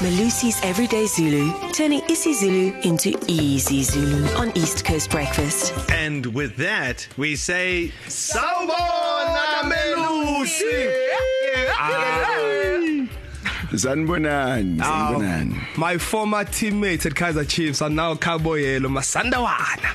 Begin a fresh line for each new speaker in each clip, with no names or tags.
Malusi's Everyday Zulu, turning isiZulu into easy Zulu on East Coast Breakfast.
And with that, we say Sawubona Melusi.
sanibonani sanibonani
My former teammates at Kaiser Chiefs are now Kaboyelo Masandawana.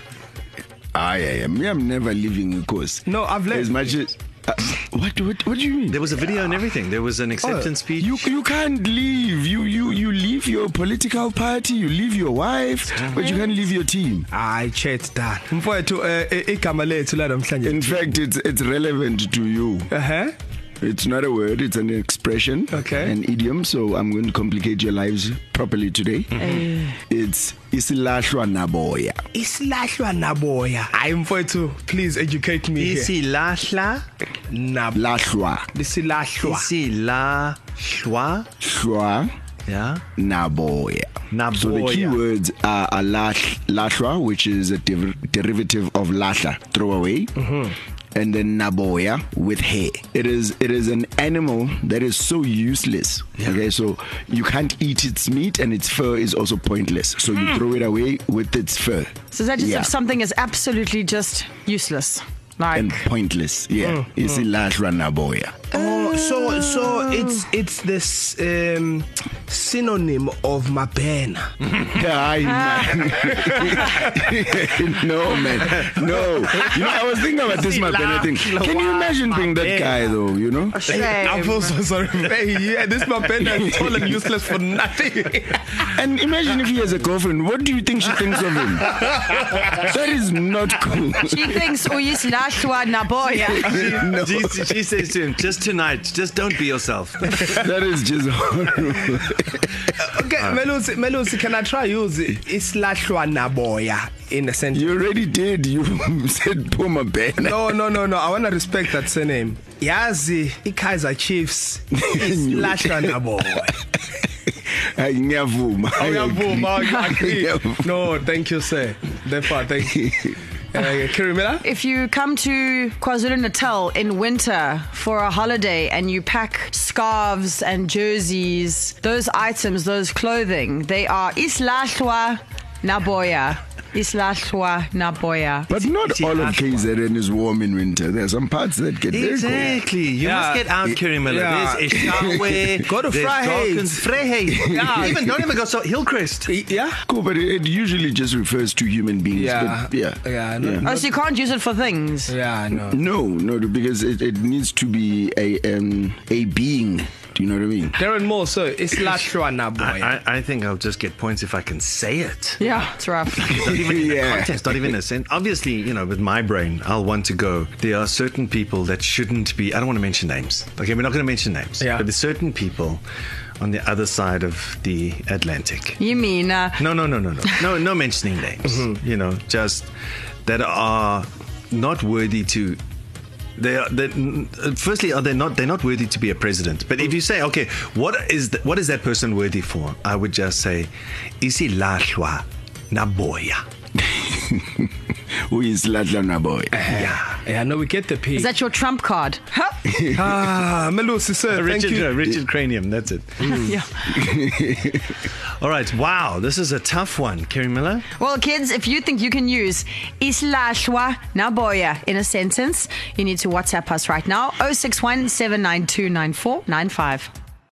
hayi hayi me i'm never leaving because
No, I've left.
as much as uh, what, what what do you mean
There was a video and everything. There was an acceptance speech.
you you can't leave you you you leave your political party you leave your wife but you can't leave your team
Hayi chat done. Mfowethu eh, eh, igama lethu la namhlanje.
in fact it's it's relevant to you
Uh-huh.
it's not a word it's an expression
Okay.
an idiom so i'm going to complicate your lives properly today
Mm-hmm.
it's isilahlwa naboya
Isilahlwa naboya. Hayi mfowethu, please educate me here.
Isilahla,
Nab
lahlwa
isilahlwa.
isilahlwa,
hlwa
yeah,
naboya
naboya.
So the key words are, are lash, lashwa, which is a dev- derivative of lasha, throw away,
Mm-hmm.
and then naboya with hair. It is it is an animal that is so useless. Okay, so you can't eat its meat, and its fur is also pointless. So you throw it away with its fur.
Hmm. So is that just
yeah.
if something is absolutely just useless? Like,
and pointless. Yeah,
Hmm.
it's lashwa naboya.
Oh, so so it's it's this um synonym of mabena.
Hi, man. no, man. No. You know, I was thinking about this Mapena thing. Can you imagine being that guy, though, you know?
I feel so sorry. Hey, yeah, this mabena is tall and useless for nothing.
And imagine if he has a girlfriend. What do you think she thinks of him? That is not cool.
she thinks "Oh, uyislahlwa naboya.
No,
She, she says to him, just tonight, just don't be yourself.
that is just horrible.
Okay, Melusi, Melusi, can I try use islahlwa naboya in a sentence?
You already did. You said poor Mapena.
No, no, no, no. I want to respect that surname. Yazi, i-Kaiser Chiefs islahlwa naboya.
Ngiyavuma. I
Uyavuma, I agree.
Ngiyavuma.
No, thank you, sir. Therefore, thank you. Uh, Kiri Miller?
If you come to KwaZulu Natal in winter for a holiday and you pack scarves and jerseys, those items, those clothing, they are islahlwa naboya. Islahlwa naboya.
But not all of KZN is warm in winter. There are some parts that get very cold.
Exactly. You
Yeah.
must get out, Kerry Miller.
Yeah.
There's Eshawe.
Go to
there's
Vryheid.
Dawkins, Vryheid.
Yeah.
Even, don't even go so Hillcrest.
Yeah?
Cool, but it, it usually just refers to human beings.
Yeah.
But yeah.
Yeah, no-
Oh, so you can't use it for things.
Yeah, no.
No, no, because it, it needs to be a um, a being. Do you know what I mean?
Darren Moore, sir, islahlwa naboya.
I, I, I think I'll just get points if I can say it.
Yeah, it's rough.
Not even in
Yeah.
a contest, not even a sense. Obviously, you know, with my brain, I'll want to go. There are certain people that shouldn't be. I don't want to mention names. Okay, we're not going to mention names.
Yeah.
But there's certain people on the other side of the Atlantic.
You mean uh,
No, no, no, no, no, no, no mentioning names. You know, just that are not worthy to. They are. That, firstly, are they not? They're not worthy to be a president. But if you say, okay, what is the, what is that person worthy for? I would just say, isi lahlwa naboya.
Who is Latla Naboy?
Yeah.
Yeah, no, we get the P.
is that your trump card? Huh?
ah, Melusi, sir, thank
Richard,
you.
no, Richard Cranium, that's it.
yeah.
All right, wow, this is a tough one, Kerry Miller.
Well, kids, if you think you can use islahlwa naboya in a oh sentence, you need to WhatsApp us right now 061 792 9495.